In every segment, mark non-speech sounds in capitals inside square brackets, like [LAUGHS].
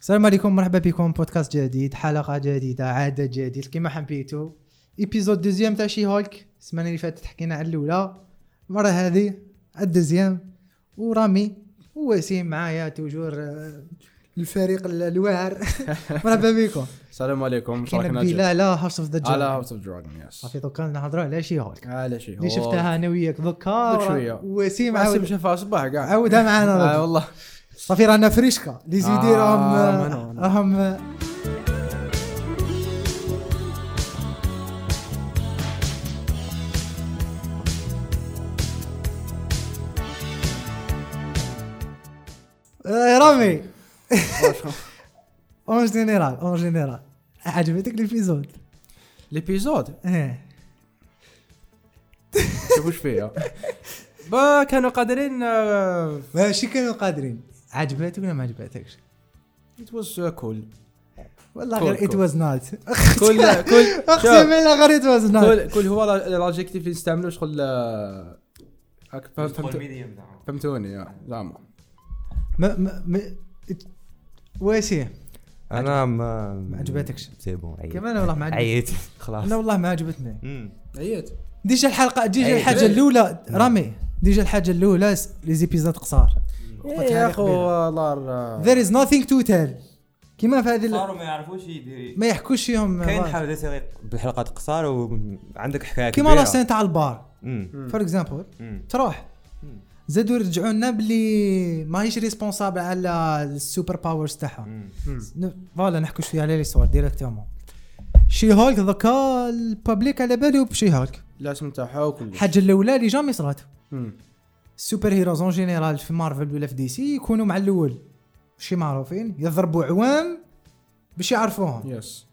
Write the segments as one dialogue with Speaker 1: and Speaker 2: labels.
Speaker 1: السلام عليكم مرحبا بكم بودكاست جديد حلقه جديده عدد جديد كما حبيتو ايبيزود دوزيام تاع شي هولك السمانه اللي فاتت حكينا على الاولى المره هذه الدوزيام ورامي ووسيم معايا توجور آه، الفريق ال-
Speaker 2: [LAUGHS]
Speaker 1: الواعر مرحبا بكم
Speaker 2: السلام عليكم
Speaker 1: كاين
Speaker 2: جد.
Speaker 1: بلا لا هاوس اوف ذا
Speaker 2: على
Speaker 1: جاينت
Speaker 2: هاوس اوف دراجون يس
Speaker 1: صافي دوكا نهضروا على شي هولك
Speaker 2: على شي
Speaker 1: اللي شفتها انا وياك دوكا
Speaker 2: دوك شوية.
Speaker 1: وسيم
Speaker 2: عاود
Speaker 1: عاود
Speaker 2: شافها صباح كاع
Speaker 1: عاودها معانا
Speaker 2: آه
Speaker 1: دوك.
Speaker 2: والله
Speaker 1: صافي رانا فريشكا لي زيدي
Speaker 2: آه،
Speaker 1: راهم آه،
Speaker 2: منو- منو.
Speaker 1: راهم آه،
Speaker 2: [LAUGHS]
Speaker 1: رامي اون جينيرال اون جينيرال عجبتك الابيزود
Speaker 2: ليبيزود
Speaker 1: ايه
Speaker 2: شوف واش فيها با كانوا قادرين آه،
Speaker 1: ماشي كانوا قادرين عجبتك ولا ما عجبتكش
Speaker 2: ات واز كول
Speaker 1: والله
Speaker 2: كول-
Speaker 1: غير ات
Speaker 2: كول.
Speaker 1: واز نوت
Speaker 2: كول
Speaker 1: [LAUGHS]
Speaker 2: كول
Speaker 1: اقسم بالله غير ات واز نوت
Speaker 2: كول كول هو ال- الادجكتيف اللي نستعملو شغل آه، هاك فهم- فهمت فهمتوني يا زعما
Speaker 1: ما ما ما واسي
Speaker 3: انا ما ما
Speaker 1: عجبتكش.
Speaker 3: سي بون عييت
Speaker 1: كمان والله ما عجبت.
Speaker 3: عييت [LAUGHS] خلاص
Speaker 1: انا والله ما عجبتني
Speaker 3: مم.
Speaker 2: عييت
Speaker 1: ديجا الحلقه ديجا
Speaker 3: إيه.
Speaker 1: الحاجه
Speaker 2: إيه.
Speaker 1: الاولى رامي ديجا الحاجه الاولى س- لي زيبيزود قصار قلت
Speaker 2: يا
Speaker 1: هذه
Speaker 2: اخو
Speaker 1: قبيلة.
Speaker 2: والله ال-
Speaker 1: there is nothing to tell كيما في هذه ال-
Speaker 4: صاروا ما يعرفوش يدير
Speaker 1: ما يحكوش فيهم
Speaker 4: كاين
Speaker 1: آه.
Speaker 4: حاجه دسيري
Speaker 3: بالحلقات قصار وعندك حكايه
Speaker 1: كيما
Speaker 3: كبيرة.
Speaker 1: لاسين تاع البار
Speaker 3: مم.
Speaker 1: فور اكزامبل
Speaker 3: مم.
Speaker 1: تروح زادوا يرجعوا لنا باللي ماهيش ريسبونسابل على السوبر باورز تاعها
Speaker 3: مم.
Speaker 1: ن- فوالا نحكوا شويه على لي سوار ديريكتومون شي هولك ذكا البابليك على بالو بشي هولك
Speaker 2: الاسم تاعها وكل
Speaker 1: الحاجه الاولى اللي جامي صرات السوبر هيروز اون جينيرال في مارفل ولا في دي سي يكونوا مع الاول ماشي معروفين يضربوا عوام باش يعرفوهم
Speaker 2: يس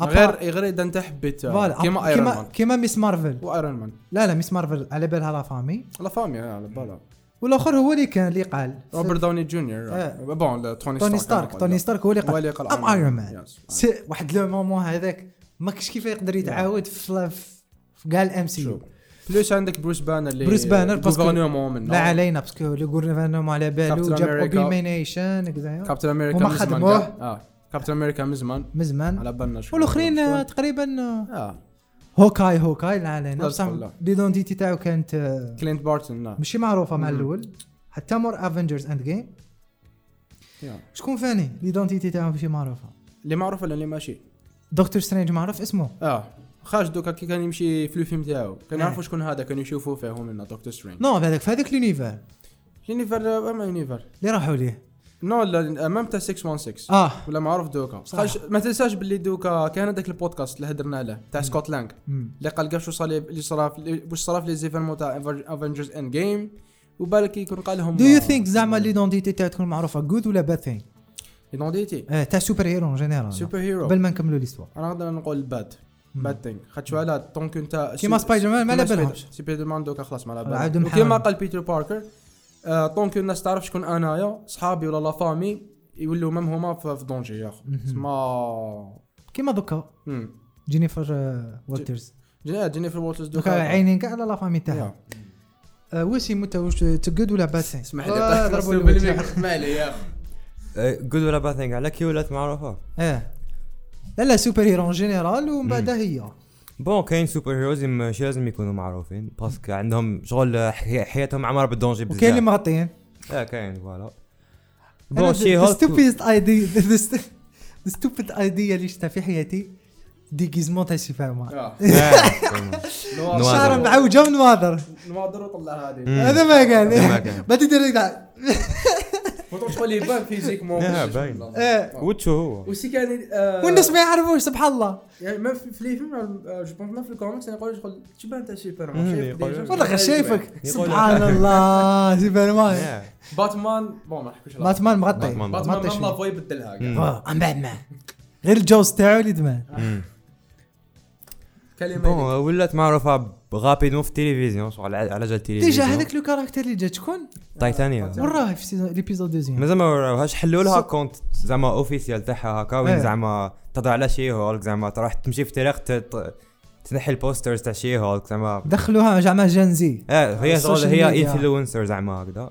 Speaker 1: أبا-
Speaker 2: غير غير اذا انت حبيت آه،
Speaker 1: فوالا
Speaker 2: كيما ايرون
Speaker 1: كيما
Speaker 2: مان
Speaker 1: كيما ميس مارفل
Speaker 2: وايرون مان
Speaker 1: لا لا ميس مارفل على بالها لا فامي
Speaker 2: لا فامي على بالها
Speaker 1: والاخر هو اللي كان اللي قال
Speaker 2: روبرت داوني جونيور
Speaker 1: آه.
Speaker 2: بون توني
Speaker 1: توني ستارك توني ستارك هو اللي
Speaker 2: هو
Speaker 1: قال
Speaker 2: اللي قال
Speaker 1: ام
Speaker 2: Iron
Speaker 1: ايرون
Speaker 2: Man.
Speaker 1: مان
Speaker 2: Yes.
Speaker 1: واحد لو مومون هذاك ما كش كيف يقدر يتعاود في في- في كاع الام سي
Speaker 2: بلوس عندك بروس بانر اللي
Speaker 1: بروس بانر باسكو-
Speaker 2: غوفرنمون منه
Speaker 1: لا علينا باسكو لو غورنفرنمون على بالو
Speaker 2: Captain
Speaker 1: جاب
Speaker 2: America.
Speaker 1: اوبيمينيشن كذا
Speaker 2: كابتن امريكا
Speaker 1: هما
Speaker 2: من زمان
Speaker 1: خدموه.
Speaker 2: كان. اه كابتن امريكا من زمان
Speaker 1: من زمان
Speaker 2: على بالنا شو-
Speaker 1: والاخرين آه،
Speaker 2: شو-
Speaker 1: تقريبا آه،
Speaker 2: اه
Speaker 1: هوكاي هوكاي لا علينا
Speaker 2: الله
Speaker 1: بصح
Speaker 2: يسخر له.
Speaker 1: ليدونتيتي تاعو كانت آه،
Speaker 2: كلينت بارتن آه.
Speaker 1: ماشي معروفه مع الاول حتى مور افنجرز اند جيم
Speaker 2: يا.
Speaker 1: شكون ثاني ليدونتيتي تاعو ماشي معروفه
Speaker 2: اللي معروف ولا اللي ماشي
Speaker 1: دكتور سترينج معروف اسمه
Speaker 2: اه خارج دوكا كي كان يمشي في الفيلم تاعو كان
Speaker 1: آه.
Speaker 2: يعرفوا شكون هذا كانوا يشوفوا فيه هما دكتور سترينج
Speaker 1: نو في هذاك في هذاك لونيفر
Speaker 2: يونيفر اما يونيفر
Speaker 1: اللي راحوا ليه
Speaker 2: نو لا مام تاع 616
Speaker 1: اه
Speaker 2: ولا معروف دوكا
Speaker 1: صح.
Speaker 2: خش- ما تنساش باللي دوكا كان هذاك البودكاست اللي هدرنا له تاع سكوت لانج
Speaker 1: مم.
Speaker 2: اللي قال قال شو صار لي- اللي صرا في- واش صرا في لي زيفيرمون تاع افنجرز اند جيم وبالك يكون قال لهم آه،
Speaker 1: دو يو ثينك زعما ليدونتيتي تاعو تكون معروفه جود ولا باد ثينك
Speaker 2: ايدونتيتي
Speaker 1: تاع سوبر هيرو جينيرال
Speaker 2: سوبر هيرو
Speaker 1: قبل ما نكملوا ليستوار
Speaker 2: انا نقدر نقول باد باد ثينك خاطش على دونك انت
Speaker 1: كيما سبايدر مان ما على
Speaker 2: كيما
Speaker 1: بالهمش.
Speaker 2: سبايدر- سبايدر مان دوكا خلاص ما على
Speaker 1: عاد
Speaker 2: بالهم وكيما
Speaker 1: محاول.
Speaker 2: قال بيتر باركر آه، دونك الناس تعرف شكون انايا صحابي ولا لا فامي يولوا مام هما في في دونجي يا اخو تسمى
Speaker 1: كيما دوكا
Speaker 2: مم.
Speaker 1: جينيفر آه، والترز
Speaker 2: جينا- جينيفر ووترز
Speaker 1: دوكا
Speaker 2: دوكا
Speaker 1: عينين كاع على لا فامي تاعها
Speaker 2: يا.
Speaker 1: آه، وسيم انت واش تقد ولا باد ثينك
Speaker 2: اسمح
Speaker 1: آه،
Speaker 2: لي
Speaker 1: ضربوا
Speaker 2: ضربوا
Speaker 1: الوجه.
Speaker 2: بالميك مالي يا اخو
Speaker 3: جود أه، ولا باد ثينغ على كي ولات معروفه
Speaker 1: ايه لا لا سوبر هيرو اون جينيرال ومن بعد هي
Speaker 3: بون كاين سوبر هيروز ماشي لازم يكونوا معروفين باسكو عندهم شغل حي- حياتهم عمر بالدونجي بزاف
Speaker 1: وكاين اللي مغطيين
Speaker 3: اه كاين فوالا
Speaker 1: انا
Speaker 3: بون شي
Speaker 1: ذا
Speaker 3: هولك
Speaker 1: ستوبيست ايدي [LAUGHS] ذا ستوبيد ايديا اللي شفتها في حياتي ديكيزمون تاع سوبر مان
Speaker 2: آه.
Speaker 1: [LAUGHS]
Speaker 3: أه، نواضر.
Speaker 1: شعر معوجه ونواضر
Speaker 2: نواضر وطلع هذه
Speaker 3: مم.
Speaker 1: هذا ما قال
Speaker 3: Hmm. هذا ما قال.
Speaker 1: [LAUGHS] ما تدير هكذا
Speaker 2: فوتو تقول لي بان فيزيك مو
Speaker 3: لا، باين.
Speaker 1: إيه.
Speaker 3: وتشو هو
Speaker 2: وسي كان آه،
Speaker 1: والناس ما يعرفوش سبحان الله
Speaker 2: يعني ما في في لي فيلم آه، جو بونس ما في الكوميكس يعني انا يقول شغل تبان انت سوبر
Speaker 3: مم،
Speaker 2: مان شايف
Speaker 3: يقول-
Speaker 2: ديجا.
Speaker 1: والله غير شايفك
Speaker 3: يقول-
Speaker 1: سبحان
Speaker 3: [LAUGHS]
Speaker 1: الله سوبر مان
Speaker 3: يا.
Speaker 2: باتمان بون ما نحكوش على
Speaker 1: باتمان مغطي
Speaker 3: باتمان
Speaker 2: باتمان
Speaker 1: مغطي
Speaker 2: ما
Speaker 1: شوية.
Speaker 2: الله فوي بدلها
Speaker 3: مم.
Speaker 1: آه، ام باتمان غير الجوز تاعو اللي دمان
Speaker 3: مم. بون
Speaker 2: كلمه
Speaker 3: ولات معروفه غابيدون في التلفزيون شغل على على جال التلفزيون
Speaker 1: ديجا هذاك لو كاركتير اللي جا شكون
Speaker 3: تايتانيا
Speaker 2: آه.
Speaker 1: وراه في سيزون- ليبيزود دوزيام
Speaker 3: مازال ما وراوهاش حلوا لها
Speaker 1: ص-
Speaker 3: كونت زعما اوفيسيال تاعها هكا
Speaker 1: إيه.
Speaker 3: وين زعما تضع على شي هولك زعما تروح تمشي في تاريخ تنحي البوسترز تاع شي هولك زعما
Speaker 1: دخلوها زعما جنزي
Speaker 3: اه هي
Speaker 1: السوشيال
Speaker 3: شغل هي
Speaker 1: ميديا.
Speaker 3: انفلونسر زعما هكذا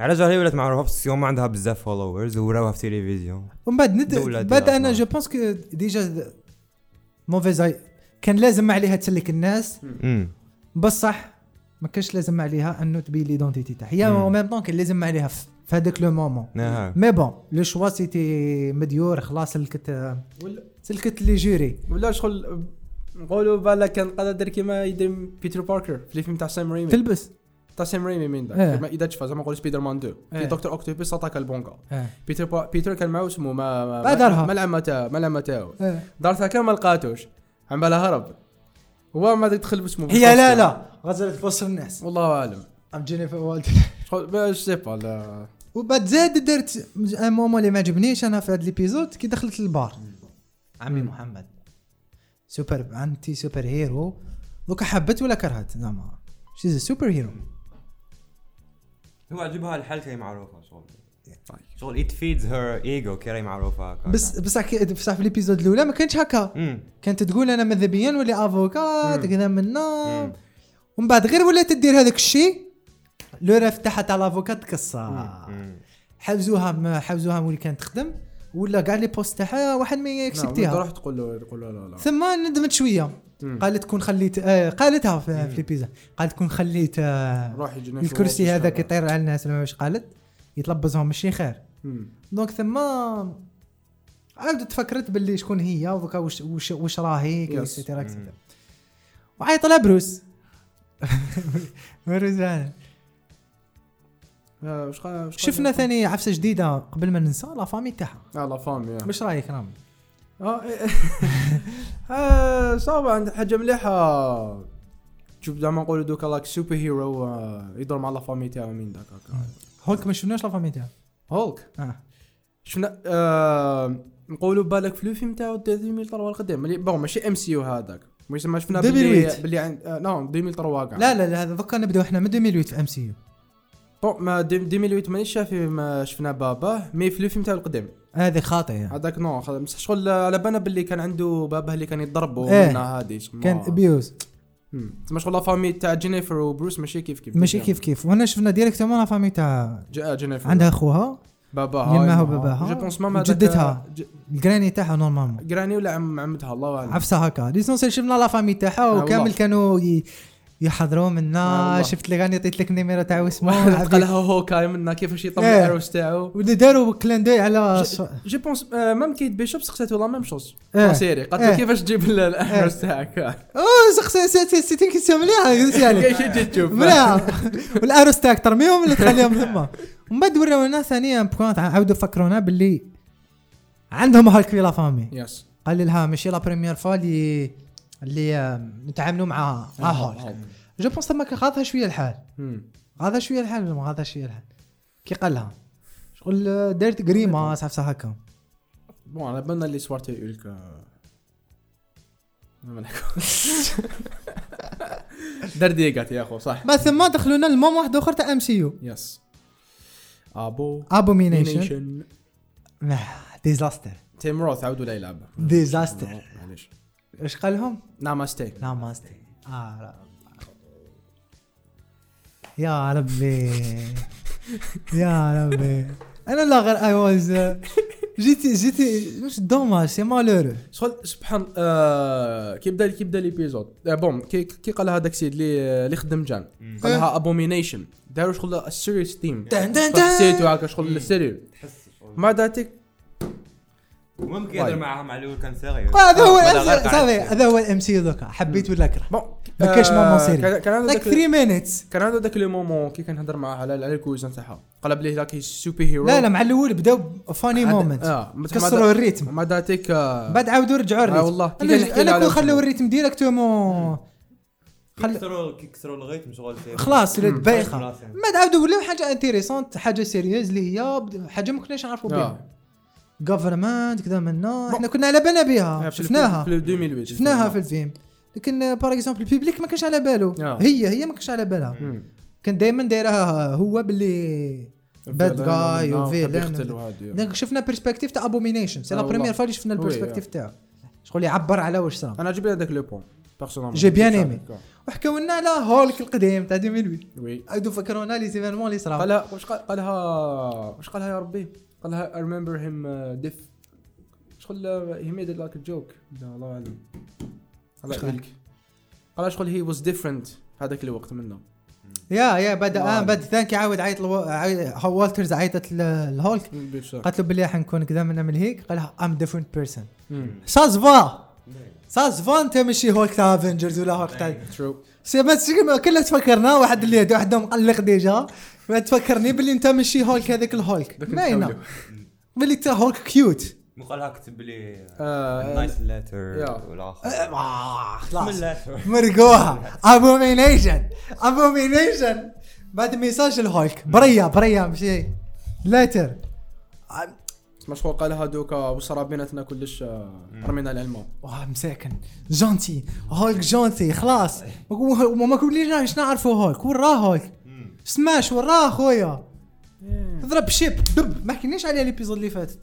Speaker 3: علاش هي ولات معروفه بس يوم عندها بزاف فولورز وراوها في التلفزيون
Speaker 1: ومن بعد ند
Speaker 3: دولة
Speaker 1: بعد
Speaker 3: ديالها
Speaker 1: انا
Speaker 3: طبعاً.
Speaker 1: جو بونس كو ديجا موفيز اي كان لازم عليها تسلك الناس
Speaker 3: امم
Speaker 1: بصح ما كانش لازم عليها انه تبين ليدونتيتي تاعها هي
Speaker 3: مم.
Speaker 1: او ميم طون كان لازم عليها في في هذاك لو مومون
Speaker 3: نعم
Speaker 1: مي بون لو شوا سيتي مديور خلاص سلكت
Speaker 2: ولا
Speaker 1: سلكت لي جوري
Speaker 2: ولا شغل آه، نقولوا بالك كان قادر دير كيما يدير بيتر باركر في الفيلم تاع سام ريمي
Speaker 1: تلبس
Speaker 2: تاع سام ريمي من ذاك
Speaker 1: إيه.
Speaker 2: كيما اذا تشفى زعما نقول سبايدر مان 2
Speaker 1: إيه.
Speaker 2: في دكتور اوكتوبيس اتاك البونكا
Speaker 1: اه
Speaker 2: بيتر با... بيتر كان معاه اسمه ما ما
Speaker 1: ما دارها.
Speaker 2: ما لعب تاعو ما لعب تاعو
Speaker 1: اه
Speaker 2: دارتها كان ما لقاتوش عم بالها هرب هو ما دخل باسمه
Speaker 1: هي لا لا غزلت في وسط الناس
Speaker 2: والله اعلم
Speaker 1: ام [LAUGHS] جينيفر والد
Speaker 2: شغل ما سي با لا
Speaker 1: وبعد زاد درت ان مومون اللي ما عجبنيش انا في هذا ليبيزود كي دخلت للبار عمي محمد سوبر انتي سوبر هيرو دوكا حبت ولا كرهت زعما شيز سوبر هيرو
Speaker 3: هو عجبها الحل كي معروفه شغل شغل ات فيدز هير ايجو كي راهي معروفه هكا
Speaker 1: بس بصح كي- بصح في ليبيزود الاولى ما كانتش هكا
Speaker 3: امم
Speaker 1: كانت تقول انا مذهبيا ولا افوكات
Speaker 2: مم.
Speaker 1: كذا منا
Speaker 3: مم.
Speaker 1: ومن بعد غير ولات دير هذاك الشيء لو راف تاعها تاع لافوكات تكسر
Speaker 3: أمم.
Speaker 1: حبزوها ما حبزوها مولي كانت تخدم ولا كاع لي بوست تاعها واحد ما
Speaker 2: نعم،
Speaker 1: يكسبتيها
Speaker 2: تروح تقول له تقول له لا لا
Speaker 1: ثم ندمت شويه
Speaker 2: مم.
Speaker 1: قالت كون خليت آه قالتها في, في البيزا قالت كون خليت آه
Speaker 2: روح يجي
Speaker 1: الكرسي هذاك يطير على الناس ولا واش قالت يتلبزهم ماشي خير دونك ثم عاودت فكرت باللي شكون هي ودوكا واش واش واش راهي
Speaker 2: Yes.
Speaker 1: اكسيتيرا
Speaker 3: مم.
Speaker 1: اكسيتيرا وعيط لها بروس [LAUGHS] بروس أنا.
Speaker 2: واش قال واش قال-
Speaker 1: شفنا ثاني عفسه جديده قبل ما ننسى لا فامي تاعها
Speaker 2: اه لا فام يا
Speaker 1: واش رايك رامي
Speaker 2: اه
Speaker 1: [LAUGHS]
Speaker 2: إيه. آه، صعبة عند حاجة مليحة شوف زعما نقولوا دوكا لاك سوبر هيرو آه، يدور مع لا فامي تاعو من داك هكا
Speaker 1: هولك ما شفناش لا فامي تاعها
Speaker 2: هولك
Speaker 1: اه
Speaker 2: شفنا آه، نقولوا بالك في الفيلم تاعو تاع 2003 القديم ملي- بون ماشي ام سي يو هذاك مش زعما شفنا باللي
Speaker 1: 2008.
Speaker 2: باللي عند آه، نو 2003 كاع
Speaker 1: لا لا لا هذا دوكا نبداو احنا من 2008 في ام سي يو
Speaker 2: بون ما ديم- 2008 مانيش شاف ما شفنا باباه مي في الفيلم تاعو القديم
Speaker 1: هذه خاطئه
Speaker 2: هذاك نو خلاص، بصح شغل على بالنا باللي كان عنده باباه اللي كان يضربه
Speaker 1: إيه.
Speaker 2: ومنها هادي شغل
Speaker 1: كان
Speaker 2: ما-
Speaker 1: ابيوز
Speaker 2: مم. تما شغل لا فامي تاع جينيفر وبروس ماشي كيف كيف
Speaker 1: ماشي كيف كيف وهنا شفنا ديريكتومون لا فامي تاع
Speaker 2: جاء جينيفر
Speaker 1: عندها خوها
Speaker 2: باباها
Speaker 1: يماها وباباها
Speaker 2: جو بونس ماما
Speaker 1: وجدتها.
Speaker 2: ج...
Speaker 1: الجراني تاعها نورمالمون
Speaker 2: جراني ولا عم عمتها الله اعلم
Speaker 1: عفسه هكا ليسونسيال شفنا لا فامي تاعها
Speaker 2: آه، والله.
Speaker 1: وكامل كانوا ي- يحضروا
Speaker 2: آه
Speaker 1: منا
Speaker 2: والله.
Speaker 1: شفت لي غاني عطيت لك النيميرو تاع
Speaker 2: واحد لقى
Speaker 1: اسمه
Speaker 2: لها هوكاي منا كيفاش يطلع
Speaker 1: إيه.
Speaker 2: الاروس تاعو
Speaker 1: وداروا كلان دوي على
Speaker 2: ج- جو بونس آه، مام كيت بيشوب سقساتو لا ميم شوز
Speaker 1: إيه.
Speaker 2: سيري قالت له
Speaker 1: إيه.
Speaker 2: كيفاش تجيب ال- الاروس تاعك
Speaker 1: اوه سخسي سيتي سيتي كيسيون مليحه قلت
Speaker 2: [LAUGHS]
Speaker 1: يعني
Speaker 2: كيفاش تجي تشوف
Speaker 1: مليحه والاروس تاعك ترميهم ولا تخليهم [LAUGHS] ثما ومن بعد وراونا ثانيا بوانت عاودوا فكرونا باللي عندهم هالك في لا فامي
Speaker 2: يس
Speaker 1: قال لها ماشي لا بريمير فوا اللي اللي آم، نتعاملوا مع
Speaker 2: آه،
Speaker 1: مع هولك جو بونس تما كان غاضها شويه الحال
Speaker 2: مم.
Speaker 1: غاضها شويه الحال ولا ما غاضها شويه الحال كي قال لها شغل آه، دارت
Speaker 3: نعم.
Speaker 1: غريماس عفسه هكا
Speaker 2: بون على بالنا اللي سوار تاع يقول لك ما نحكو دار ديقات يا اخو صح
Speaker 1: ما ثم دخلونا الموم واحد اخر تاع ام سي يو
Speaker 2: يس ابو
Speaker 1: ابومينيشن
Speaker 2: نيشن
Speaker 1: نعم. ديزاستر
Speaker 2: تيم روث عاودوا لا يلعب
Speaker 1: ديزاستر
Speaker 2: معليش
Speaker 1: اش قال لهم؟
Speaker 2: ناماستي
Speaker 1: ناماستي آه رب. يا ربي يا ربي انا لا غير اي [LAUGHS] واز جيتي جيتي مش دوماج سي مالورو
Speaker 2: شغل سبحان آه كي بدا كي بدا ليبيزود آه بوم كي كي قالها هذاك السيد اللي اللي خدم جان
Speaker 1: إيه.
Speaker 2: قالها ابومينيشن داروا شغل السيريس ثيم
Speaker 1: دن دن دن.
Speaker 2: حسيتو هكا شغل السيريو
Speaker 3: تحس شغل.
Speaker 2: ما داتك
Speaker 3: ممكن يهضر
Speaker 2: وايد.
Speaker 3: معاها مع الاول كان سيريوس
Speaker 1: هذا هو
Speaker 3: بعد آه، غير قاعد
Speaker 1: صافي هذا هو الام سي دوكا حبيت ولا كره
Speaker 2: بون
Speaker 1: ما كاش
Speaker 2: آه،
Speaker 1: مومون
Speaker 2: كان-
Speaker 1: سيري
Speaker 2: كان عنده
Speaker 1: لايك
Speaker 2: ذاك
Speaker 1: 3 مينيتس
Speaker 2: كان عنده ذاك لو مومون كي كان هضر معاه على على الكوزان تاعها قلب ليه ذاك سوبر هيرو
Speaker 1: لا لا مع الاول بداو فاني
Speaker 2: عاد-
Speaker 1: مومنت
Speaker 2: اه مت-
Speaker 1: كسروا الريتم
Speaker 2: ما داتك آه،
Speaker 1: بعد عاودوا رجعوا الريتم
Speaker 2: والله، كي كان
Speaker 1: انا
Speaker 2: يحكي لها
Speaker 1: انا
Speaker 2: على
Speaker 1: كون
Speaker 2: وجهه.
Speaker 1: خلوا الريتم ديريكتومون خل-
Speaker 3: كيكسروا كيكسروا الغيتم شغل فيه.
Speaker 1: خلاص ولات
Speaker 2: مم.
Speaker 1: بايخه
Speaker 3: خلاص يعني.
Speaker 1: ما عاودوا ولاو حاجه انتيريسونت حاجه سيريوز اللي هي بد- حاجه ما كناش نعرفوا بها
Speaker 2: آه.
Speaker 1: غوفرمنت كذا منا احنا كنا على بالنا بها
Speaker 2: آه، في الفيلم-
Speaker 1: شفناها
Speaker 2: في 2008
Speaker 1: شفناها في الفيلم لكن آه، باغ اكزومبل البيبليك ما كانش على باله
Speaker 2: آه.
Speaker 1: هي هي ما كانش على بالها
Speaker 2: مم.
Speaker 1: كان دائما دايرها هو باللي باد جاي
Speaker 2: نعم،
Speaker 1: وفيلن دونك شفنا بيرسبكتيف تاع ابومينيشن سي
Speaker 2: آه
Speaker 1: لا
Speaker 2: والله.
Speaker 1: بريمير فوا اللي شفنا
Speaker 2: وي،
Speaker 1: البيرسبكتيف تاعو شغل يعبر على واش صرا
Speaker 2: انا جبت هذاك لو بون بيرسونالمون
Speaker 1: J'ai bien aimé. وحكوا لنا على هولك القديم تاع 2008
Speaker 2: وي
Speaker 1: عاودوا فكرونا لي زيفينمون اللي صراو
Speaker 2: قالها واش قال- قالها واش قالها يا ربي قالها I remember him uh, diff شغل uh, he made it like a joke لا الله اعلم الله
Speaker 1: واش قال؟
Speaker 2: يخليك قال شغل he was different في هذاك الوقت منه
Speaker 1: يا يا بدا
Speaker 2: آه.
Speaker 1: آه بدا ثاني كيعاود عيط لو- عي- ها- والترز عيطت ل- لهولك قالت له بلي راح نكون كذا من من هيك قال لها ام ديفرنت بيرسون
Speaker 2: مم.
Speaker 1: سا زفا سا زفا انت ماشي هولك تاع افنجرز ولا هولك تاع
Speaker 2: ترو
Speaker 1: سي ما تسي- ما كلها تفكرنا واحد اللي يدو وحده مقلق ديجا ما تفكرني باللي انت ماشي هولك هذاك الهولك
Speaker 2: دوك
Speaker 1: باينه
Speaker 2: نحاولو.
Speaker 1: باللي انت هولك كيوت
Speaker 3: مقالها كتب لي
Speaker 2: آه،
Speaker 3: نايس لاتر
Speaker 2: يا.
Speaker 3: والاخر
Speaker 1: آه، خلاص
Speaker 3: من letter.
Speaker 1: مرقوها ابومينيشن ابومينيشن بعد ميساج الهولك بريا بريا مشي ليتر
Speaker 2: مشغول قالها دوكا وصرا بيناتنا كلش آه، رمينا العلمه
Speaker 1: واه مساكن جونتي هولك جونتي خلاص وما- وما كليناش نعرفوا هولك وين راه هولك
Speaker 3: مم.
Speaker 1: سماش وين راه خويا ضرب شيب دب ما حكيناش عليها الابيزود اللي فاتت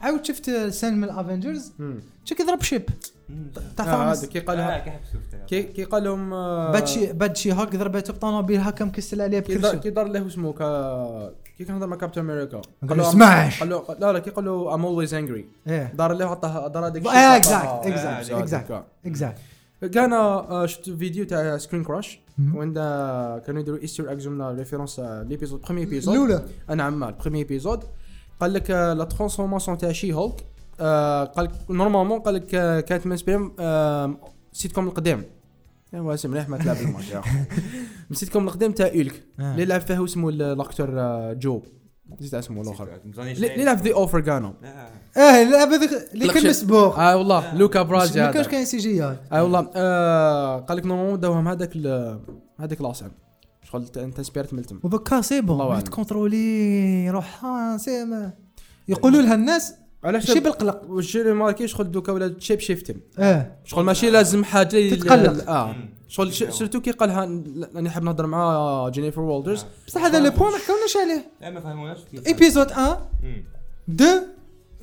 Speaker 1: عاود شفت سين من الافنجرز
Speaker 2: مم.
Speaker 1: شك يضرب شيب
Speaker 3: مم.
Speaker 1: تاع
Speaker 2: آه،
Speaker 1: ثانوس
Speaker 2: هذا كي قالها
Speaker 3: آه، كيف شفتها
Speaker 2: كي كي قال لهم آه،
Speaker 1: بعد شي بعد شي هولك ضربته بطوموبيل هكا مكسل عليه
Speaker 2: كي
Speaker 1: بكل
Speaker 2: دار
Speaker 1: شيء
Speaker 2: كي دار له اسمه كا كي كان هضر مع كابتن امريكا
Speaker 1: قال له smash.
Speaker 2: قال له لا لا كي قال له ام اولويز انجري
Speaker 1: ايه
Speaker 2: دار له عطاه دار هذاك
Speaker 1: آه، exact,
Speaker 2: عطاه-
Speaker 1: exact,
Speaker 2: آه،
Speaker 1: exact.
Speaker 2: دوكا.
Speaker 1: اكزاكت
Speaker 2: كان آه، شفت فيديو تاع سكرين كراش
Speaker 1: مهم.
Speaker 2: وعند كانوا يديروا ايستر اكس جبنا ريفيرونس ليبيزود بخومي ايبيزود
Speaker 1: الاولى
Speaker 2: انا عمال بخومي ايبيزود قال لك آه، لا ترانسفورماسيون تاع شي هولك آه، قال لك نورمالمون قال لك آه، كانت منسبيم سيتكم القديم يا واسم مليح ما تلعب
Speaker 1: [LAUGHS]
Speaker 2: الماتش يا اخي سيتكم القديم تاع اولك
Speaker 1: آه.
Speaker 2: اللي لعب فيها هو اسمه الاكتور آه، جو نسيت اسمه الاخر
Speaker 3: مزانيش
Speaker 2: اللي اللي لعب ذا اوفر كانو
Speaker 3: آه.
Speaker 1: اه لا هذاك اللي كان
Speaker 2: لقشة.
Speaker 1: مسبوق
Speaker 2: اه والله لوكا براج
Speaker 1: ما كانش
Speaker 2: هذا.
Speaker 1: كاين سي جي
Speaker 2: اي والله آه قال لك نورمالمون داوهم هذاك ال- هذاك العصر شغل ت- انت سبيرت ملتم
Speaker 1: وبكا سي
Speaker 2: الله
Speaker 1: بون
Speaker 2: أعلم.
Speaker 1: تكونترولي روحها سي ما يقولوا لها الناس
Speaker 2: علاش
Speaker 1: ماشي بالقلق
Speaker 2: والجيري ماركي شغل دوكا ولا تشيب شيفتم
Speaker 1: اه
Speaker 2: شغل ماشي لازم حاجه ي-
Speaker 1: تتقلق.
Speaker 2: اه
Speaker 3: مم.
Speaker 2: شغل ش- سيرتو كي قالها ن- راني حاب نهضر مع جينيفر وولدرز
Speaker 3: آه.
Speaker 1: بصح هذا لو بوان ما حكاوناش عليه
Speaker 3: لا ما فهموناش
Speaker 2: إيه،
Speaker 3: كيف
Speaker 1: ايبيزود 1
Speaker 3: مم.
Speaker 1: 2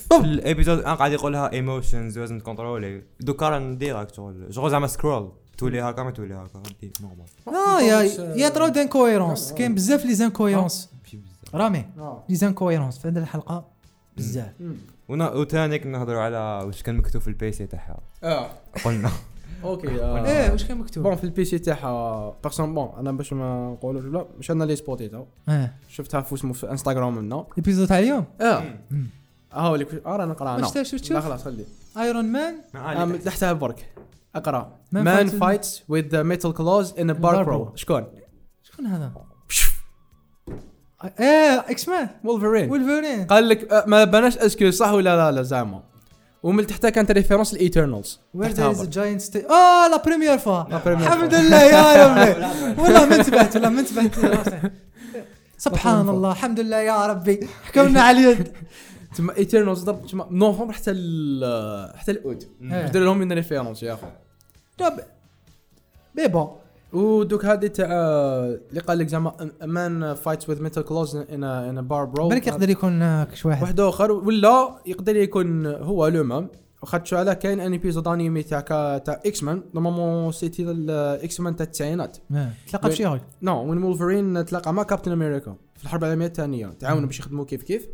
Speaker 3: في الابيزود انا قاعد يقول لها ايموشنز لازم تكونترولي دوكا راه نديرك شغل شغل زعما سكرول تولي هاكا ما تولي هاكا غادي نورمال
Speaker 1: لا آه، يا
Speaker 2: آه.
Speaker 1: يا ترو دانكويرونس كاين بزاف لي زانكويرونس
Speaker 3: ماشي بزاف
Speaker 1: رامي
Speaker 2: اه
Speaker 1: لي زانكويرونس في هذه الحلقه بزاف
Speaker 2: مم.
Speaker 3: ونا- وثاني كنا نهضروا على واش كان مكتوب في البيسي تاعها
Speaker 2: اه
Speaker 3: قلنا
Speaker 2: اوكي
Speaker 1: ايه
Speaker 2: آه.
Speaker 1: واش كان مكتوب
Speaker 2: بون في البي سي تاعها بيرسون بون انا باش ما نقولوش لا مش انا لي سبوتيتها
Speaker 1: اه
Speaker 2: شفتها في اسمه في انستغرام منا
Speaker 1: ايبيزود تاع اليوم
Speaker 2: اه هاو لك اه راه نقرا
Speaker 1: واش
Speaker 2: انا
Speaker 1: تا- شو
Speaker 2: لا
Speaker 1: تشوف
Speaker 2: خلاص خلي
Speaker 1: ايرون مان
Speaker 2: آم، تحتها برك اقرا
Speaker 1: Man
Speaker 2: مان
Speaker 1: fights-
Speaker 2: فايتس وذ ميتال كلوز ان بارك
Speaker 1: Barbaro.
Speaker 2: رو شكون؟
Speaker 1: شكون هذا ايه اكس
Speaker 2: إيه.
Speaker 1: مان
Speaker 2: وولفرين
Speaker 1: وولفرين
Speaker 2: قال لك آه، ما باناش اسكو صح ولا لا لا زعما ومن تحتها كانت ريفيرونس الايترنالز
Speaker 1: وير ذير از جاينت ستي اه لا بريمير فوا
Speaker 2: premiere
Speaker 1: الحمد لله يا ربي
Speaker 2: [LAUGHS]
Speaker 1: والله ما انتبهت والله ما انتبهت سبحان الله الحمد لله يا ربي حكمنا على اليد
Speaker 2: تما ايترنالز ضرب تما من نوفمبر حتى ال- حتى الاود
Speaker 1: إيه.
Speaker 2: دير لهم من ريفيرونس يا اخو
Speaker 1: طب مي بون
Speaker 2: ودوك هذه تاع أه، اللي قال لك زعما أه، مان فايتس وذ ميتال كلوز ان ان بارك رو
Speaker 1: بالك يقدر يكون هناك شي واحد
Speaker 2: واحد اخر ولا يقدر يكون هو لو مام خاطش على كاين ان ايبيزود انيمي تاع كا- تاع اكس مان نورمالمون سيتي اكس مان تاع التسعينات
Speaker 1: آه. تلقى بشي هول
Speaker 2: نو وين وولفرين تلاقى مع كابتن امريكا في الحرب العالميه الثانيه تعاونوا باش يخدموا كيف كيف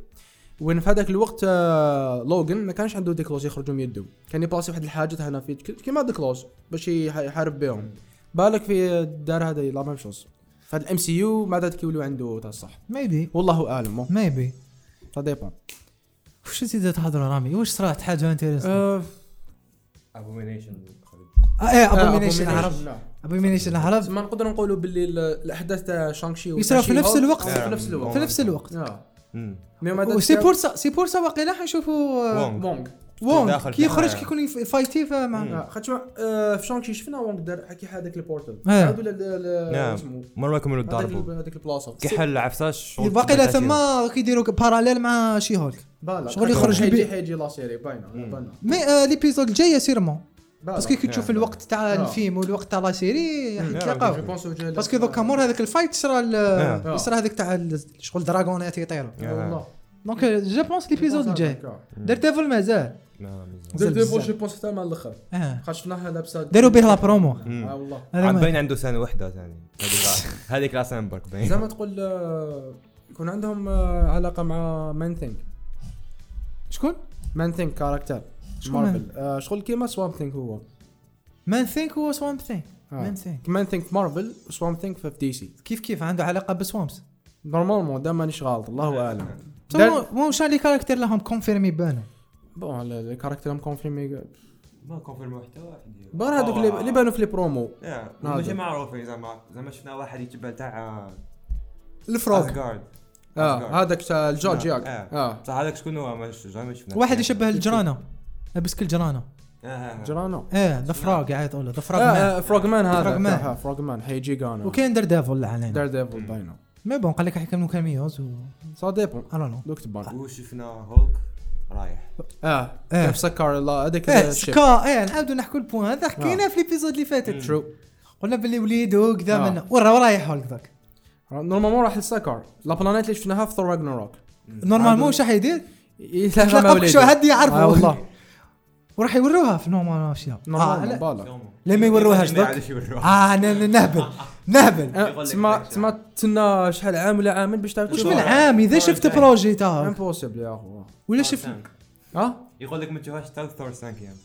Speaker 2: وين في هذاك الوقت آه، لوغان ما كانش عنده ديكلوز يخرجوا من يده كان يبلاسي واحد الحاجه هنا في كيما ديكلوز باش يح- يحارب بهم بالك في دار هذا لا ميم شوز فهاد الام سي يو مع ذلك يوليو عنده تاع الصح
Speaker 1: ميبي
Speaker 2: والله اعلم
Speaker 1: ميبي
Speaker 2: سا ديبون
Speaker 1: واش زيد تهضر رامي واش صرات حاجه انتيريسون
Speaker 2: آه.
Speaker 3: ابومينيشن
Speaker 1: ايه
Speaker 2: Euh, آه،
Speaker 1: ابومينيشن هرب
Speaker 2: لا.
Speaker 1: ابومينيشن هرب
Speaker 2: ما نقدر نقولوا باللي ال- الاحداث تاع شانكشي و-
Speaker 1: يصيروا في
Speaker 2: تاع
Speaker 1: نفس
Speaker 2: شي-هولك
Speaker 1: الوقت.
Speaker 2: في نفس
Speaker 3: نعم.
Speaker 2: الوقت
Speaker 1: في نفس الوقت
Speaker 2: آه. مي مع ذلك
Speaker 1: وسي بورسا سي بورسا واقيلا حنشوفوا آه،
Speaker 3: وونغ.
Speaker 2: وونغ
Speaker 1: وونغ
Speaker 3: داخل
Speaker 1: كي يخرج
Speaker 3: فيها.
Speaker 1: كي يكون يف- فايتي فمع
Speaker 3: مم.
Speaker 2: آه، خاطش ما- آه، في شانكشي شفنا وونغ دار كي حا هذاك البورتال
Speaker 1: آه.
Speaker 2: عاودوا ل- ل- ل-
Speaker 3: نعم.
Speaker 2: اسمه
Speaker 3: مرة كملوا
Speaker 2: هذاك
Speaker 3: ضربوا
Speaker 2: ال- هذيك البلاصه
Speaker 3: كي حل عفساش
Speaker 1: باقي لا تما كيديروا باراليل مع شي هولك
Speaker 2: بالا
Speaker 1: شغل يخرج
Speaker 2: حيجي
Speaker 1: البي-
Speaker 2: حيجي لا سيري باينه
Speaker 3: مم.
Speaker 2: باينه
Speaker 1: مي آه، ليبيزود الجايه سيرمون باسكو كي
Speaker 3: نعم،
Speaker 1: تشوف
Speaker 3: نعم.
Speaker 1: الوقت تاع
Speaker 2: نعم.
Speaker 1: الفيلم والوقت تاع لا سيري
Speaker 3: نعم.
Speaker 1: حيتلاقاو
Speaker 2: آه.
Speaker 1: باسكو دوكا مور هذاك الفايت صرا ال- آه.
Speaker 3: نعم.
Speaker 1: صرا هذاك تاع ال- شغل دراغونات يطيروا
Speaker 3: نعم.
Speaker 2: والله
Speaker 1: دونك آه، جو بونس
Speaker 2: آه.
Speaker 1: ليبيزود الجاي دير ديفل مازال
Speaker 3: لا، مزيان.
Speaker 2: دير
Speaker 1: مازال
Speaker 2: ديفول
Speaker 1: بزاف.
Speaker 2: جو بونس حتى مع الاخر
Speaker 1: اه
Speaker 2: خاش شفناها لابسه
Speaker 1: داروا به لا برومو
Speaker 3: مم.
Speaker 2: اه والله
Speaker 1: هذا
Speaker 3: عاد
Speaker 1: ما-
Speaker 3: باين عنده سنه وحده ثاني هذيك هذيك لا [LAUGHS] سنه برك
Speaker 1: [LAUGHS]
Speaker 3: باين
Speaker 2: زعما تقول آه، يكون عندهم آه، علاقه مع مان ثينك
Speaker 1: شكون
Speaker 2: مان ثينك كاركتر
Speaker 1: شكون
Speaker 2: مارفل آه، شغل كيما سوام ثينك هو
Speaker 1: مان ثينك هو سوامب ثينك
Speaker 2: آه.
Speaker 1: مان ثينك
Speaker 2: مان ثينك مارفل سوام ثينك في دي سي
Speaker 1: كيف كيف عنده علاقه بسوامس
Speaker 2: نورمالمون دا مانيش غالط الله اعلم دار-
Speaker 1: مو شان لي كاركتير لهم كونفيرمي بانوا
Speaker 2: بون الكاركتر هم كونفيرمي
Speaker 3: ما كونفيرم حتى واحد
Speaker 2: بون هذوك اللي- اللي بانوا في لي برومو
Speaker 3: إيه،
Speaker 2: نادر.
Speaker 3: آه. ماشي معروفين زعما زعما شفنا واحد يتبع تاع
Speaker 2: الفروغ
Speaker 1: آه.
Speaker 3: ازغارد
Speaker 2: اه هذاك تاع الجورج
Speaker 3: نعم.
Speaker 2: ياك
Speaker 3: آه.
Speaker 2: اه
Speaker 3: صح هذاك شكون هو ما ش- زعما ما شفنا
Speaker 1: واحد يشبه الجرانه لابس كالجرانه
Speaker 3: آه، آه، آه.
Speaker 2: جرانو
Speaker 1: اه ذا فراغ يعيطوا له ذا
Speaker 2: آه،
Speaker 1: فراغ مان.
Speaker 2: آه فروغ مان هذا
Speaker 1: فروغ مان.
Speaker 2: آه، فروغ مان حيجي غانا
Speaker 1: وكاين دير ديفل اللي علينا
Speaker 2: دار ديفل باينه
Speaker 1: مي بون قال لك راح يكملوا كاميوز و
Speaker 2: سا ديبون
Speaker 1: انا نو
Speaker 2: دوك تبان
Speaker 3: وشفنا هولك رايح
Speaker 2: اه
Speaker 1: آه.
Speaker 2: كيف سكر الله هذاك
Speaker 1: ايه
Speaker 2: الشيب.
Speaker 1: سكا ايه نعاودوا نحكوا البوان هذا
Speaker 2: آه.
Speaker 1: حكيناه في ليبيزود اللي فاتت
Speaker 2: ترو
Speaker 1: قلنا باللي وليدو وكذا
Speaker 2: آه.
Speaker 1: من ورا ورايح هولك ذاك
Speaker 2: نورمالمون راح لسكر لا بلانيت اللي شفناها في ثور راجناروك
Speaker 1: نورمالمون واش راح يدير؟
Speaker 2: يتلاقى مع
Speaker 1: تلاقى
Speaker 2: وليده
Speaker 1: شو هاد يعرفوا
Speaker 2: آه والله
Speaker 1: وراح يوروها في نورمال ماشية
Speaker 2: نورمال
Speaker 1: اه
Speaker 2: بالا
Speaker 1: لا ما يوروهاش
Speaker 3: ما
Speaker 1: ذاك [LAUGHS]
Speaker 3: عادش يوروها
Speaker 1: اه أنا- أنا نهبل نهبل
Speaker 2: آه، تسمى تسمى تسنى شحال عام ولا عامين باش تعرف
Speaker 1: واش
Speaker 2: تشوفها.
Speaker 1: يعني. من عام
Speaker 2: آه،
Speaker 1: اذا نعم، شفت بروجي تاعك
Speaker 2: امبوسيبل يا اخو
Speaker 1: ولا
Speaker 3: ثور
Speaker 2: آه،
Speaker 1: شفت
Speaker 3: سانك.
Speaker 2: اه
Speaker 3: يقول لك ما تشوفهاش حتى ثور سانك يعني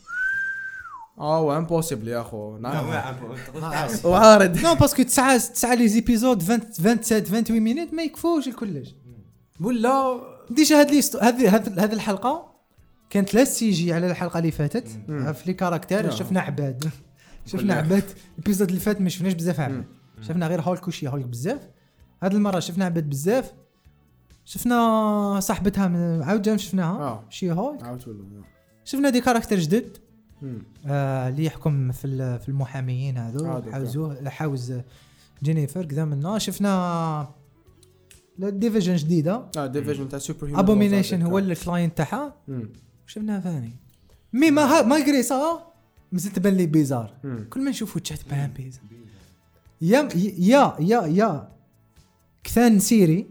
Speaker 1: [LAUGHS]
Speaker 2: اه امبوسيبل يا اخو
Speaker 3: لا، ما
Speaker 2: نعم
Speaker 3: عارف.
Speaker 1: [LAUGHS]
Speaker 3: تعرف.
Speaker 2: وعارض
Speaker 1: نو باسكو تسعة تسعة لي زيبيزود 27 28 مينيت ما يكفوش الكلش
Speaker 2: ولا
Speaker 1: ديجا هاد ليست هاد هاد هاد الحلقه كانت لا سي جي على الحلقه اللي فاتت آه،
Speaker 2: مم.
Speaker 1: في لي كاركتير
Speaker 2: نعم.
Speaker 1: شفنا
Speaker 2: [LAUGHS]
Speaker 1: عباد شفنا عباد البيزود اللي فات ما شفناش بزاف عباد شفنا غير هولك وشي هولك بزاف هاد المره شفنا عباد بزاف شفنا صاحبتها من- عاود جام شفناها
Speaker 2: آه.
Speaker 1: شي هولك
Speaker 2: عاوت ولا
Speaker 1: شفنا دي كاركتير جدد
Speaker 2: مم.
Speaker 1: آه، اللي يحكم في ال- في المحاميين هذو
Speaker 2: هذوك.
Speaker 1: حاوزوه حاوز جينيفر كذا منا شفنا ديفيجن جديده
Speaker 2: اه ديفيجن تاع سوبر هيومن
Speaker 1: ابومينيشن هو الكلاينت تاعها شفناها ثاني مي ما ها- مالغري سا مازال تبان لي بيزار
Speaker 2: مم.
Speaker 1: كل ما نشوفو تشات بان بيزار يا يا يا يا كثان سيري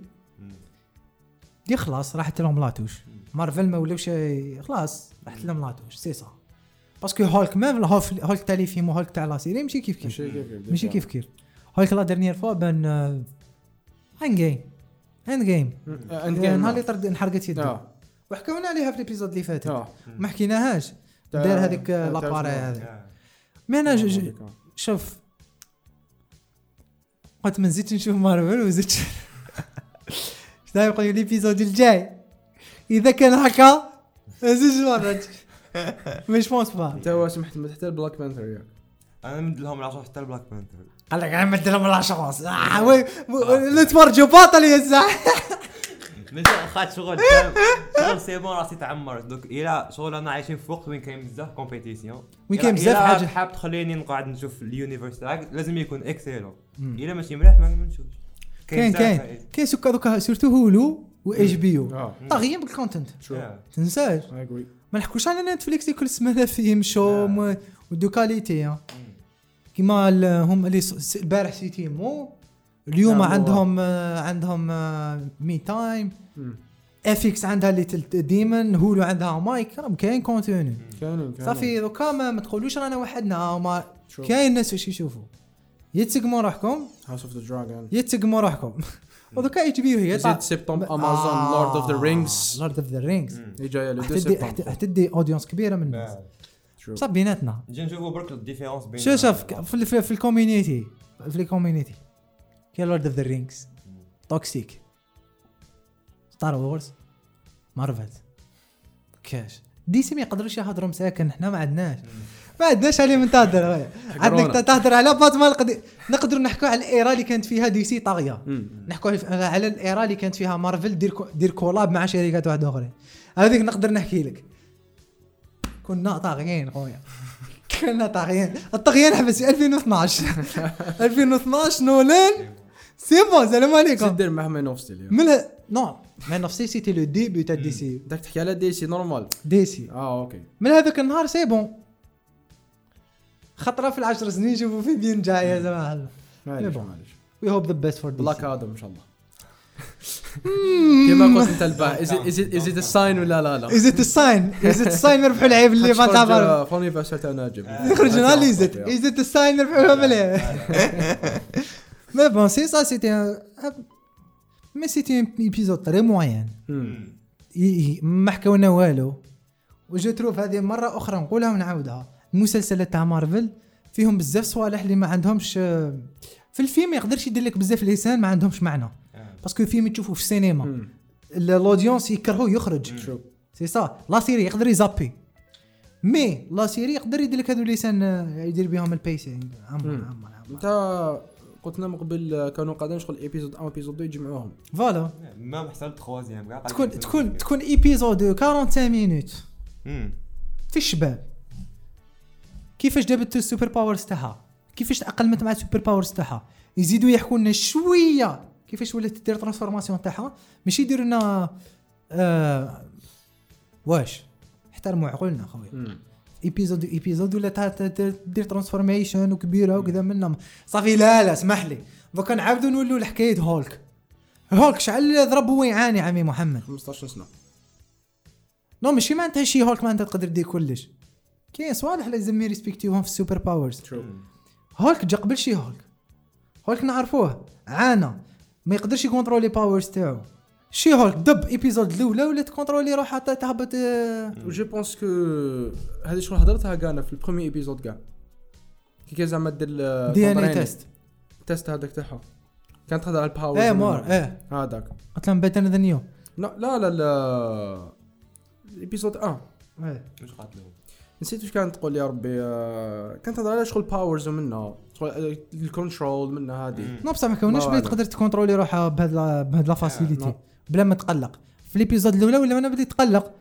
Speaker 1: دي خلاص راحت لهم لاطوش مارفل ما ولاوش ي- خلاص راحت لهم لاطوش سي سا باسكو هولك ميم هولك هولك تاع لي فيلم وهولك تاع لا سيري ماشي كيف كيف
Speaker 2: ماشي كيف
Speaker 1: ماشي كيف كيف هولك لا ديرنيير فوا بان اند جيم اند جيم
Speaker 2: اند جيم
Speaker 1: نهار اللي طرد انحرقت يدي
Speaker 2: اه
Speaker 1: وحكيونا عليها في الابيزود اللي فاتت
Speaker 2: اه
Speaker 1: ما حكيناهاش
Speaker 2: تاع-
Speaker 1: دار هذيك
Speaker 2: تاع
Speaker 1: لاباري
Speaker 2: جوزمان.
Speaker 1: هذيك مي
Speaker 2: آه.
Speaker 1: انا ج- ج- شوف قلت ما نزيدش [LAUGHS] نشوف مارفل وزدت شنو يقول لي ليبيزود الجاي اذا كان هكا ما نزيدش نتفرج مي جوبونس با
Speaker 2: انت هو سمحت ما تحتل بلاك بانثر ياك
Speaker 3: انا مد لهم العصا حتى البلاك بانثر
Speaker 1: قال لك نمد لهم لا شونس لا تفرجوا باطل يا الزعم
Speaker 3: [LAUGHS] من خات شغل شغل سي بون راسي تعمرت دوك الى شغل انا عايشين في وقت وين كاين بزاف كومبيتيسيون
Speaker 1: وين كاين بزاف حاجة.
Speaker 3: حاب تخليني نقعد نشوف اليونيفرس تاعك لازم يكون اكسيلون الى ماشي مليح ما ما نشوفش
Speaker 1: كاين
Speaker 3: بزاف
Speaker 1: كاين
Speaker 3: فائدة.
Speaker 1: كاين سكا دوكا سورتو هولو و اتش بي يو
Speaker 2: اه
Speaker 1: طاغيين بالكونتنت
Speaker 2: ترو
Speaker 3: آه.
Speaker 1: تنساش
Speaker 2: اي اجري
Speaker 1: ما نحكوش على نتفليكس كل سمانه فيهم شو
Speaker 2: نعم.
Speaker 1: م- ودو كاليتي ها. كيما ال- هم اللي س- س- البارح سيتيمو اليوم
Speaker 2: نعم، هو.
Speaker 1: عندهم آه، عندهم آه، مي تايم افيكس عندها اللي تلت ديمن هولو عندها مايك راهم كاين كونتوني
Speaker 2: كاينين كاينين
Speaker 1: صافي دوكا ما ما تقولوش رانا وحدنا هما
Speaker 2: True.
Speaker 1: كاين ناس واش يشوفوا يا تسقموا روحكم
Speaker 2: هاوس اوف ذا دراجون
Speaker 1: يا تسقموا روحكم ودوكا اتش بي هي آه،
Speaker 2: زيد سبتمبر امازون لورد اوف ذا رينجز
Speaker 1: لورد اوف ذا رينجز
Speaker 2: اللي جايه لو 2
Speaker 1: حتدي حت-
Speaker 2: سبتمبر
Speaker 1: حتدي اودينس كبيره من
Speaker 2: نعم.
Speaker 1: الناس
Speaker 3: آه.
Speaker 2: ترو
Speaker 1: بصح بيناتنا
Speaker 3: نجي نشوفوا برك الديفيرونس بين
Speaker 1: شوف شوف ك- في ال- في, في الكوميونيتي في الكوميونيتي كاين لورد اوف ذا رينجز توكسيك ستار وورز مارفل كاش دي سي ما يقدروش يهضروا مساكن حنا ما عندناش ما عندناش عليه من تهضر وي. عندك
Speaker 2: حقرونا.
Speaker 1: تهضر على باتمان القديم نقدروا نحكوا على الايرا اللي كانت فيها دي سي طاغيه نحكوا على- على الايرا اللي كانت فيها مارفل دير كو- دير كولاب مع شركات واحده اخرين هذيك نقدر نحكي لك كنا طاغيين خويا كنا طاغيين الطغيان حبس 2012 2012 نولان سي بون سلام عليكم
Speaker 2: تدير معاه مان اوف ستيل
Speaker 1: من نعم. نو مان اوف سي سيتي لو ديبي تاع دي سي
Speaker 2: بدك تحكي على دي سي نورمال
Speaker 1: دي سي
Speaker 2: اه اوكي
Speaker 1: من هذاك النهار سي بون خطره في العشر سنين نشوفوا في بين جايه زعما هلا
Speaker 2: معليش
Speaker 1: بون.
Speaker 2: معليش
Speaker 1: وي هوب ذا بيست فور دي
Speaker 2: بلاك
Speaker 1: سي
Speaker 2: ادم ان شاء الله كيما قلت انت الباع از ات ساين ولا لا لا
Speaker 1: از ات ساين از ات ساين نربحوا لعيب
Speaker 2: [LAUGHS]
Speaker 1: اللي ما تعرف
Speaker 2: فوني فاس تاع ناجم
Speaker 1: نخرج هنا لي زت از ات ساين نربحوا لهم لعيب ما بون سي سا سيتي ان- مي سيتي ان ايبيزود تري موين ي- ي- ما حكاو لنا والو وجو تروف هذه مره اخرى نقولها ونعاودها المسلسلات تاع مارفل فيهم بزاف صوالح اللي ما عندهمش آه، في الفيلم يقدرش يدير لك بزاف لسان ما عندهمش معنى باسكو الفيلم تشوفه في السينما ال- الاودينس يكرهوه يخرج
Speaker 2: شو
Speaker 1: سي سا لا سيري يقدر يزابي مي لا سيري يقدر يدير لك هذو لسان آه، يدير بهم البيسينغ عمر
Speaker 2: مم.
Speaker 1: عمر عمر
Speaker 2: انت قلت لنا من قبل كانوا قادرين شغل ايبيزود 1 ايبيزود 2 يجمعوهم
Speaker 1: فوالا
Speaker 3: ما محصل تخوازيام كاع
Speaker 1: تكون تكون تكون ايبيزود 45 مينوت
Speaker 3: مم.
Speaker 1: في الشباب كيفاش جابت السوبر باورز تاعها كيفاش تاقلمت مع السوبر باورز تاعها يزيدوا يحكوا لنا شويه كيفاش ولات دير ترانسفورماسيون تاعها ماشي يديروا لنا آه واش احترموا عقولنا خويا ايبيزود ايبيزود ولا تا- تا- تا- دير ترانسفورميشن وكبيره وكذا منا صافي لا لا اسمح لي دوكا نعاودوا نولوا لحكايه هولك هولك شعل ضرب هو يعاني عمي محمد
Speaker 2: 15 سنه
Speaker 1: نو ماشي معناتها شي هولك معناتها تقدر دير كلش كاين صوالح لازم يريسبكتيوهم في السوبر باورز
Speaker 2: شو
Speaker 1: هولك جا قبل شي هولك هولك نعرفوه عانى ما يقدرش يكونترولي باورز تاعو شي هولك دب ايبيزود الاولى ولا تكونترولي روحها تا- تهبط آه،
Speaker 2: وجي بونس كو هذه شغل هضرتها كاع أنا في البرومي ايبيزود كاع كي كان زعما دير ال-
Speaker 1: دي ان اي
Speaker 2: تمرين.
Speaker 1: تيست
Speaker 2: تيست هذاك تاعها كانت تهضر على الباور
Speaker 1: ايه مور ايه
Speaker 2: هذاك
Speaker 1: قلت لهم بيتر ذان يو
Speaker 2: لا لا لا لا ايبيزود 1
Speaker 3: واش قاتلو
Speaker 2: نسيت واش كانت تقول يا ربي آه، كانت تهضر على شغل باورز ومنها شغل آه، الكنترول منها هذه
Speaker 1: نو بصح ما كوناش
Speaker 2: ما
Speaker 1: بلي
Speaker 2: والو.
Speaker 1: تقدر تكونترولي روحها بهاد لا- بهاد لا فاسيليتي
Speaker 2: نو.
Speaker 1: بلا ما تقلق في ليبيزود الاولى ولا انا بديت تقلق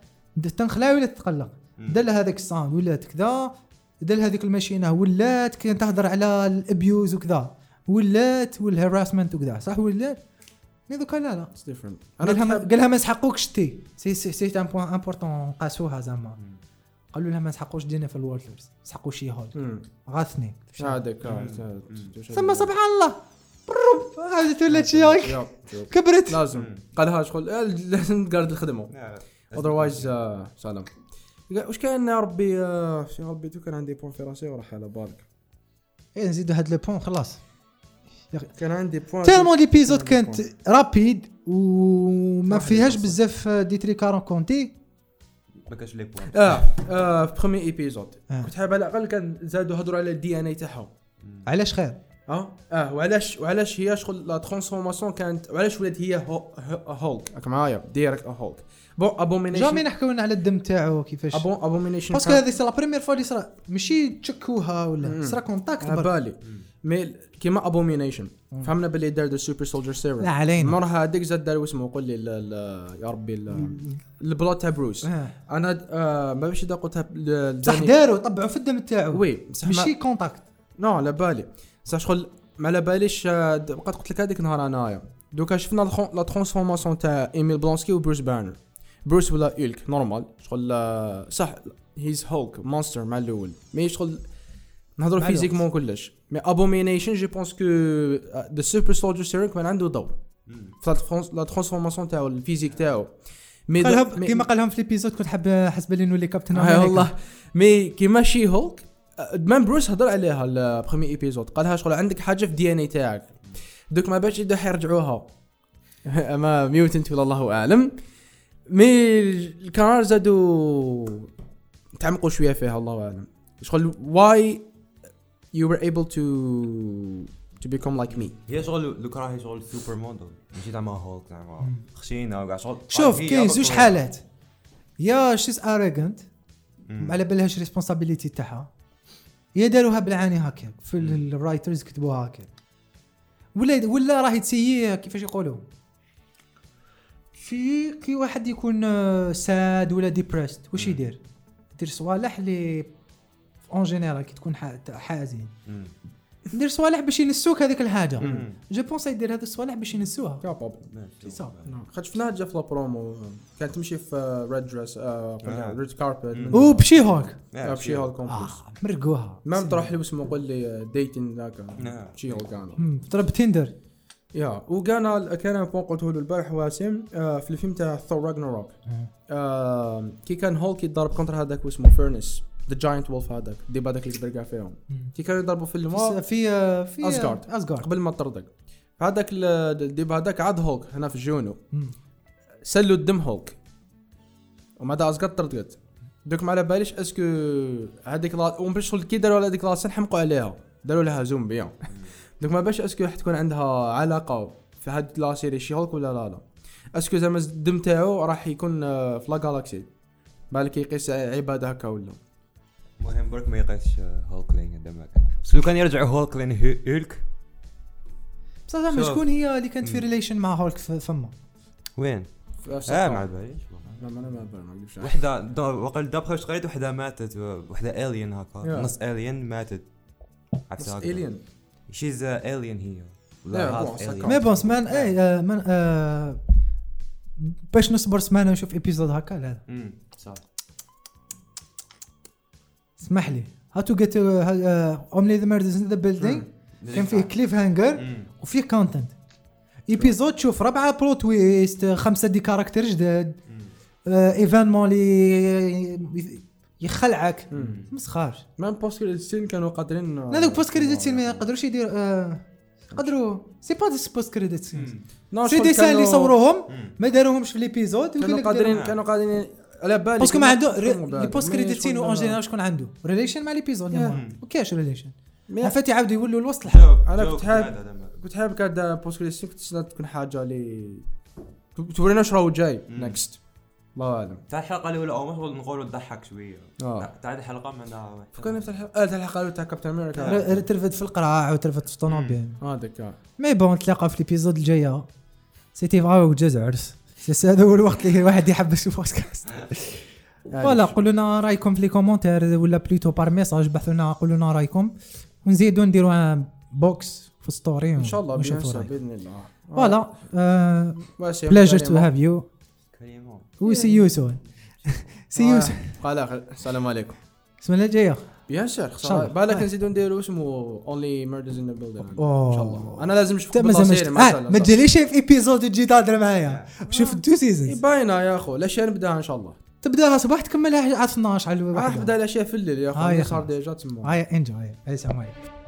Speaker 1: تنخلع ولا تقلق دل هذاك الصان ولات كذا دل هذيك الماشينه ولات كي تهضر على الابيوز وكذا ولات والهراسمنت وكذا صح ولات مي دوكا لا لا
Speaker 2: اتس ديفرنت انا
Speaker 1: قالها ما
Speaker 2: تحب-
Speaker 1: قالها ما سحقوكش تي سي سي سي ان بوان امبورطون قاسوها زعما قالوا لها ما نسحقوش دينا في الوركرز سحقوا شي هول
Speaker 2: مم.
Speaker 1: غاثني
Speaker 2: هذاك آه،
Speaker 1: ثم سبحان الله برب عاودت ولات شي هول
Speaker 2: يا، شوف.
Speaker 1: كبرت
Speaker 2: لازم قالها شغل آه، لازم [LAUGHS] تقارد الخدمه اذروايز آه، سلام واش كان يا ربي آه، يا ربي تو كان عندي بوان في راسي وراح على بالك
Speaker 1: ايه نزيدوا هاد لو بون خلاص
Speaker 2: كان عندي بوان
Speaker 1: تالمون ليبيزود كانت رابيد وما
Speaker 2: صح،
Speaker 1: فيهاش
Speaker 2: صح.
Speaker 1: بزاف دي تريك راه كونتي
Speaker 3: ما كاش لي بوان
Speaker 2: اه اه في بخومي ايبيزود
Speaker 1: آه.
Speaker 2: كنت حاب على الاقل كان زادوا هضروا على الدي ان اي تاعهم
Speaker 1: علاش خير
Speaker 2: اه اه وعلاش وعلاش هي شغل لا ترانسفورماسيون كانت وعلاش ولات هي هو- ه- هولك راك معايا ديريكت هولك بون
Speaker 1: جامي
Speaker 2: ابومينيشن
Speaker 1: نحكوا لنا على الدم تاعو كيفاش
Speaker 2: ابون ابومينيشن
Speaker 1: باسكو هذه سي لا بريمير فوا اللي صرا ماشي تشكوها ولا
Speaker 2: مم.
Speaker 1: صرا كونتاكت
Speaker 2: على
Speaker 1: برك
Speaker 2: آه، بالي مي كيما ابومينيشن فهمنا باللي دار سوبر سولجر سيرم
Speaker 1: لا علينا.
Speaker 2: مرة هذيك زاد دار واسمه قول لي ال- ال- يا ربي ال- البلوت تاع بروس
Speaker 1: آه.
Speaker 2: انا آه، ما باش اذا قلتها ل-
Speaker 1: بصح
Speaker 2: لداني-
Speaker 1: داروا طبعوا في الدم تاعو
Speaker 2: وي بصح ما-
Speaker 1: ماشي كونتاكت
Speaker 2: نو على بالي بصح شغل ما على باليش آه، د- بقيت قلت لك هذيك نهار انايا دوكا شفنا الخو- لا ترانسفورماسيون تاع ايميل بلونسكي وبروس بانر بروس ولا ايلك نورمال شغل آه، صح هيز هولك مونستر مع الاول مي شغل نهضروا
Speaker 1: مع الوقت.
Speaker 2: فيزيكمون كلش مي ابومينيشن جو بونس كو ذا سوبر سولجر سيرم كان عنده دور في لا ترانس- لا ترانسفورماسيون تاعو الفيزيك تاعو مي
Speaker 1: قالهم
Speaker 2: مي-
Speaker 1: كيما قالهم في ليبيزود كنت حاب حسب لي نولي كابتن
Speaker 3: نعم،
Speaker 2: هاي
Speaker 1: أمريكا.
Speaker 2: والله مي كيما شي هولك مام بروس هضر عليها البخومي ايبيزود قالها شغل عندك حاجه في دي ان اي تاعك دوك ما باش يبداو [LAUGHS] حيرجعوها اما ميوتنت ولا الله اعلم مي الكار زادو تعمقوا شويه فيها الله اعلم شغل واي يو were able to to become like me
Speaker 3: هي شغل لو كان هي شغل سوبر موديل ماشي زعما هولك زعما خشينه وكاع شغل
Speaker 1: شوف
Speaker 3: هي
Speaker 1: كاين
Speaker 3: أبطال.
Speaker 1: زوج حالات يا شيز اريغنت
Speaker 3: مم.
Speaker 1: على بالهاش ريسبونسابيليتي تاعها يا داروها بالعاني هكا في ال- الرايترز كتبوها هكا ولا ولا راهي تسيي كيفاش يقولوا في كي واحد يكون آه، ساد ولا ديبرست واش يدير يدير صوالح لي اون جينيرال كي تكون ح- حزين
Speaker 3: مم.
Speaker 1: يدير صوالح باش ينسوك هذيك الحاجه
Speaker 3: مم.
Speaker 1: جو بونس يدير هذا الصوالح باش ينسوها
Speaker 2: يا بابا
Speaker 3: ماشي.
Speaker 1: صعب.
Speaker 2: خاطر شفناها جا في لا برومو كانت تمشي في آه، ريد دريس ريد كاربت
Speaker 1: وبشي هوك
Speaker 3: آه،
Speaker 2: بشي هولك كومبليس
Speaker 1: اخ مرقوها
Speaker 2: ما مطرح لي اسمه قول لي ديتين "آه، ذاك
Speaker 3: نعم.
Speaker 2: شي اورجانو
Speaker 1: مم، ضرب تندر
Speaker 2: يا وكان كان أنا بون قلته له البارح واسم آه، في الفيلم تاع ثور راجناروك آه، كي كان هولك يضرب كونتر هذاك واسمه فيرنس ذا جاينت وولف هذاك الديب هذاك اللي يقدر يقع فيهم كي كانوا يضربوا في الماء
Speaker 1: في آه، في
Speaker 2: أسغارد.
Speaker 1: اسجارد
Speaker 2: قبل ما تطردك هذاك ال- الديب هذاك عاد هولك هنا في جونو سلوا الدم هولك وماذا اسقط طردقت دوك ما على باليش اسكو هذيك لا ومن بعد شغل كي داروا على هذيك لاسن حمقوا عليها داروا لها زوم بيان دوك ما باش اسكو راح تكون عندها علاقه في هاد لا سيري شي هولك ولا لا لا اسكو زعما الدم تاعو راح يكون آه، في لا جالاكسي بالك يقيس عباده هكا ولا
Speaker 3: المهم برك ما يقيسش آه، هولكلين قدامك بس لو كان يرجع هولكلين هو- هولك
Speaker 1: بصح زعما
Speaker 3: شوف.
Speaker 1: شكون هي اللي كانت في
Speaker 3: مم.
Speaker 1: ريليشن مع هولك في- فما
Speaker 3: وين؟
Speaker 2: في
Speaker 1: آه،
Speaker 2: أفسد
Speaker 3: اه
Speaker 2: طاقة.
Speaker 3: ما على باليش
Speaker 2: لا، ما انا ما بالي، ما نكذبش عليك.
Speaker 3: وحده دا- وقال دابخ واش قريت وحده ماتت وحده الين هكا
Speaker 2: Yeah.
Speaker 3: نص الين ماتت عرفت
Speaker 2: بس
Speaker 3: هكا
Speaker 2: الين
Speaker 3: شيز الين هي
Speaker 2: Yeah,
Speaker 3: ولا
Speaker 2: bon,
Speaker 3: half
Speaker 2: ça
Speaker 3: alien.
Speaker 2: compte.
Speaker 1: مي بون سمان اي آه، من آه، باش نصبر سمانه ونشوف ايبيزود هكا لا
Speaker 3: مم، صح
Speaker 1: اسمح لي هاو تو جيت اونلي ذا ميردرز ان ذا بيلدينغ كان فيه كليف هانجر
Speaker 3: مم.
Speaker 1: وفيه كونتنت ايبيزود شوف ربعه برو تويست خمسه آه، دي كاركتر جداد آه، ايفانمون اللي يخلعك
Speaker 2: مم.
Speaker 1: مسخار
Speaker 2: مام بوست كريديت سين كانوا قادرين
Speaker 1: لا دوك بوست كريديت سين ما يقدروش يدير آه، يقدروا سي با دي بوست كريديت سين
Speaker 2: نو،
Speaker 1: سي
Speaker 2: شغل
Speaker 1: ديسان اللي
Speaker 2: كانوا-
Speaker 1: صوروهم
Speaker 3: مم.
Speaker 1: ما داروهمش في ليبيزود ويقول
Speaker 2: كانوا
Speaker 1: لك
Speaker 2: قادرين
Speaker 1: ديرهم.
Speaker 2: كانوا قادرين على بالي
Speaker 1: آه. باسكو ما عنده
Speaker 2: كانوا
Speaker 1: لي
Speaker 2: بعد.
Speaker 1: بوست
Speaker 2: مي
Speaker 1: كريديت سين
Speaker 2: شغل
Speaker 1: اون
Speaker 2: لا-
Speaker 1: جينيرال شكون عنده ريليشن مع ليبيزود
Speaker 3: Yeah.
Speaker 1: وكاش ريليشن
Speaker 2: مي-
Speaker 1: عرفت يعاودوا يولوا الوسط الحلقه
Speaker 3: جاوب-
Speaker 2: أنا
Speaker 3: جاوب
Speaker 2: كنت حاب-
Speaker 3: بعد هذا ما-
Speaker 2: كنت حابب كاد بوست كريديت سين كنت تسنى تكون حاجه اللي ت- تورينا واش راهو جاي
Speaker 3: مم.
Speaker 2: نكست الله اعلم
Speaker 3: تاع الحلقه الاولى او مش نقولوا تضحك شويه
Speaker 2: آه.
Speaker 3: تاع- تاع الحلقه ما عندها
Speaker 2: فكرني في الحلقه آه، تاع الحلقه الاولى تاع كابتن امريكا
Speaker 1: ر- ر- ترفد في القرعه وترفد في الطوموبيل
Speaker 2: هذاك آه.
Speaker 1: مي بون نتلاقاو في الابيزود الجايه سيتي فغا وجاز عرس سي- هذا هو الوقت اللي الواحد يحبس في بودكاست فوالا
Speaker 2: معليش.
Speaker 1: قولوا لنا رايكم في لي كومونتير ولا بلوتو بار ميساج بحثوا لنا قولوا لنا رايكم ونزيدوا نديروا ان بوكس في ستوري
Speaker 2: ان شاء الله
Speaker 1: ونشوفوا
Speaker 2: بينسى
Speaker 1: رايكم
Speaker 2: باذن الله آه.
Speaker 1: فوالا آه، بلاجر
Speaker 2: بلاجر
Speaker 1: تو هاف يو
Speaker 3: كريمون
Speaker 1: وي سي يو سون [LAUGHS] سي يو سون
Speaker 2: آه. قال اخر السلام عليكم
Speaker 1: السمانه
Speaker 2: [LAUGHS]
Speaker 1: الجايه
Speaker 2: بيان سير
Speaker 1: شاء
Speaker 2: خساره
Speaker 1: الله.
Speaker 2: بالك
Speaker 1: آه.
Speaker 2: نزيدوا نديروا اسمه اونلي ميردرز ان ذا بيلدينغ ان
Speaker 1: أوه.
Speaker 2: شاء الله انا لازم
Speaker 1: انت
Speaker 2: نشوف
Speaker 1: ما زعماش
Speaker 2: بلاصيري مع
Speaker 1: آه، ما تجيليش في ايبيزود وتجي تهضر معايا شوف
Speaker 2: آه.
Speaker 1: تو سيزونز
Speaker 2: باينه يا اخو الاشياء نبداها ان شاء الله
Speaker 1: تبداها صباح تكملها عاد 12 على
Speaker 2: راح
Speaker 1: الواحد
Speaker 2: نبدا الاشياء في الليل يا
Speaker 1: آه،
Speaker 2: اخو
Speaker 1: يا
Speaker 2: صار
Speaker 1: أخي.
Speaker 2: ديجا تما
Speaker 1: هاي انجوي هاي السلام عليكم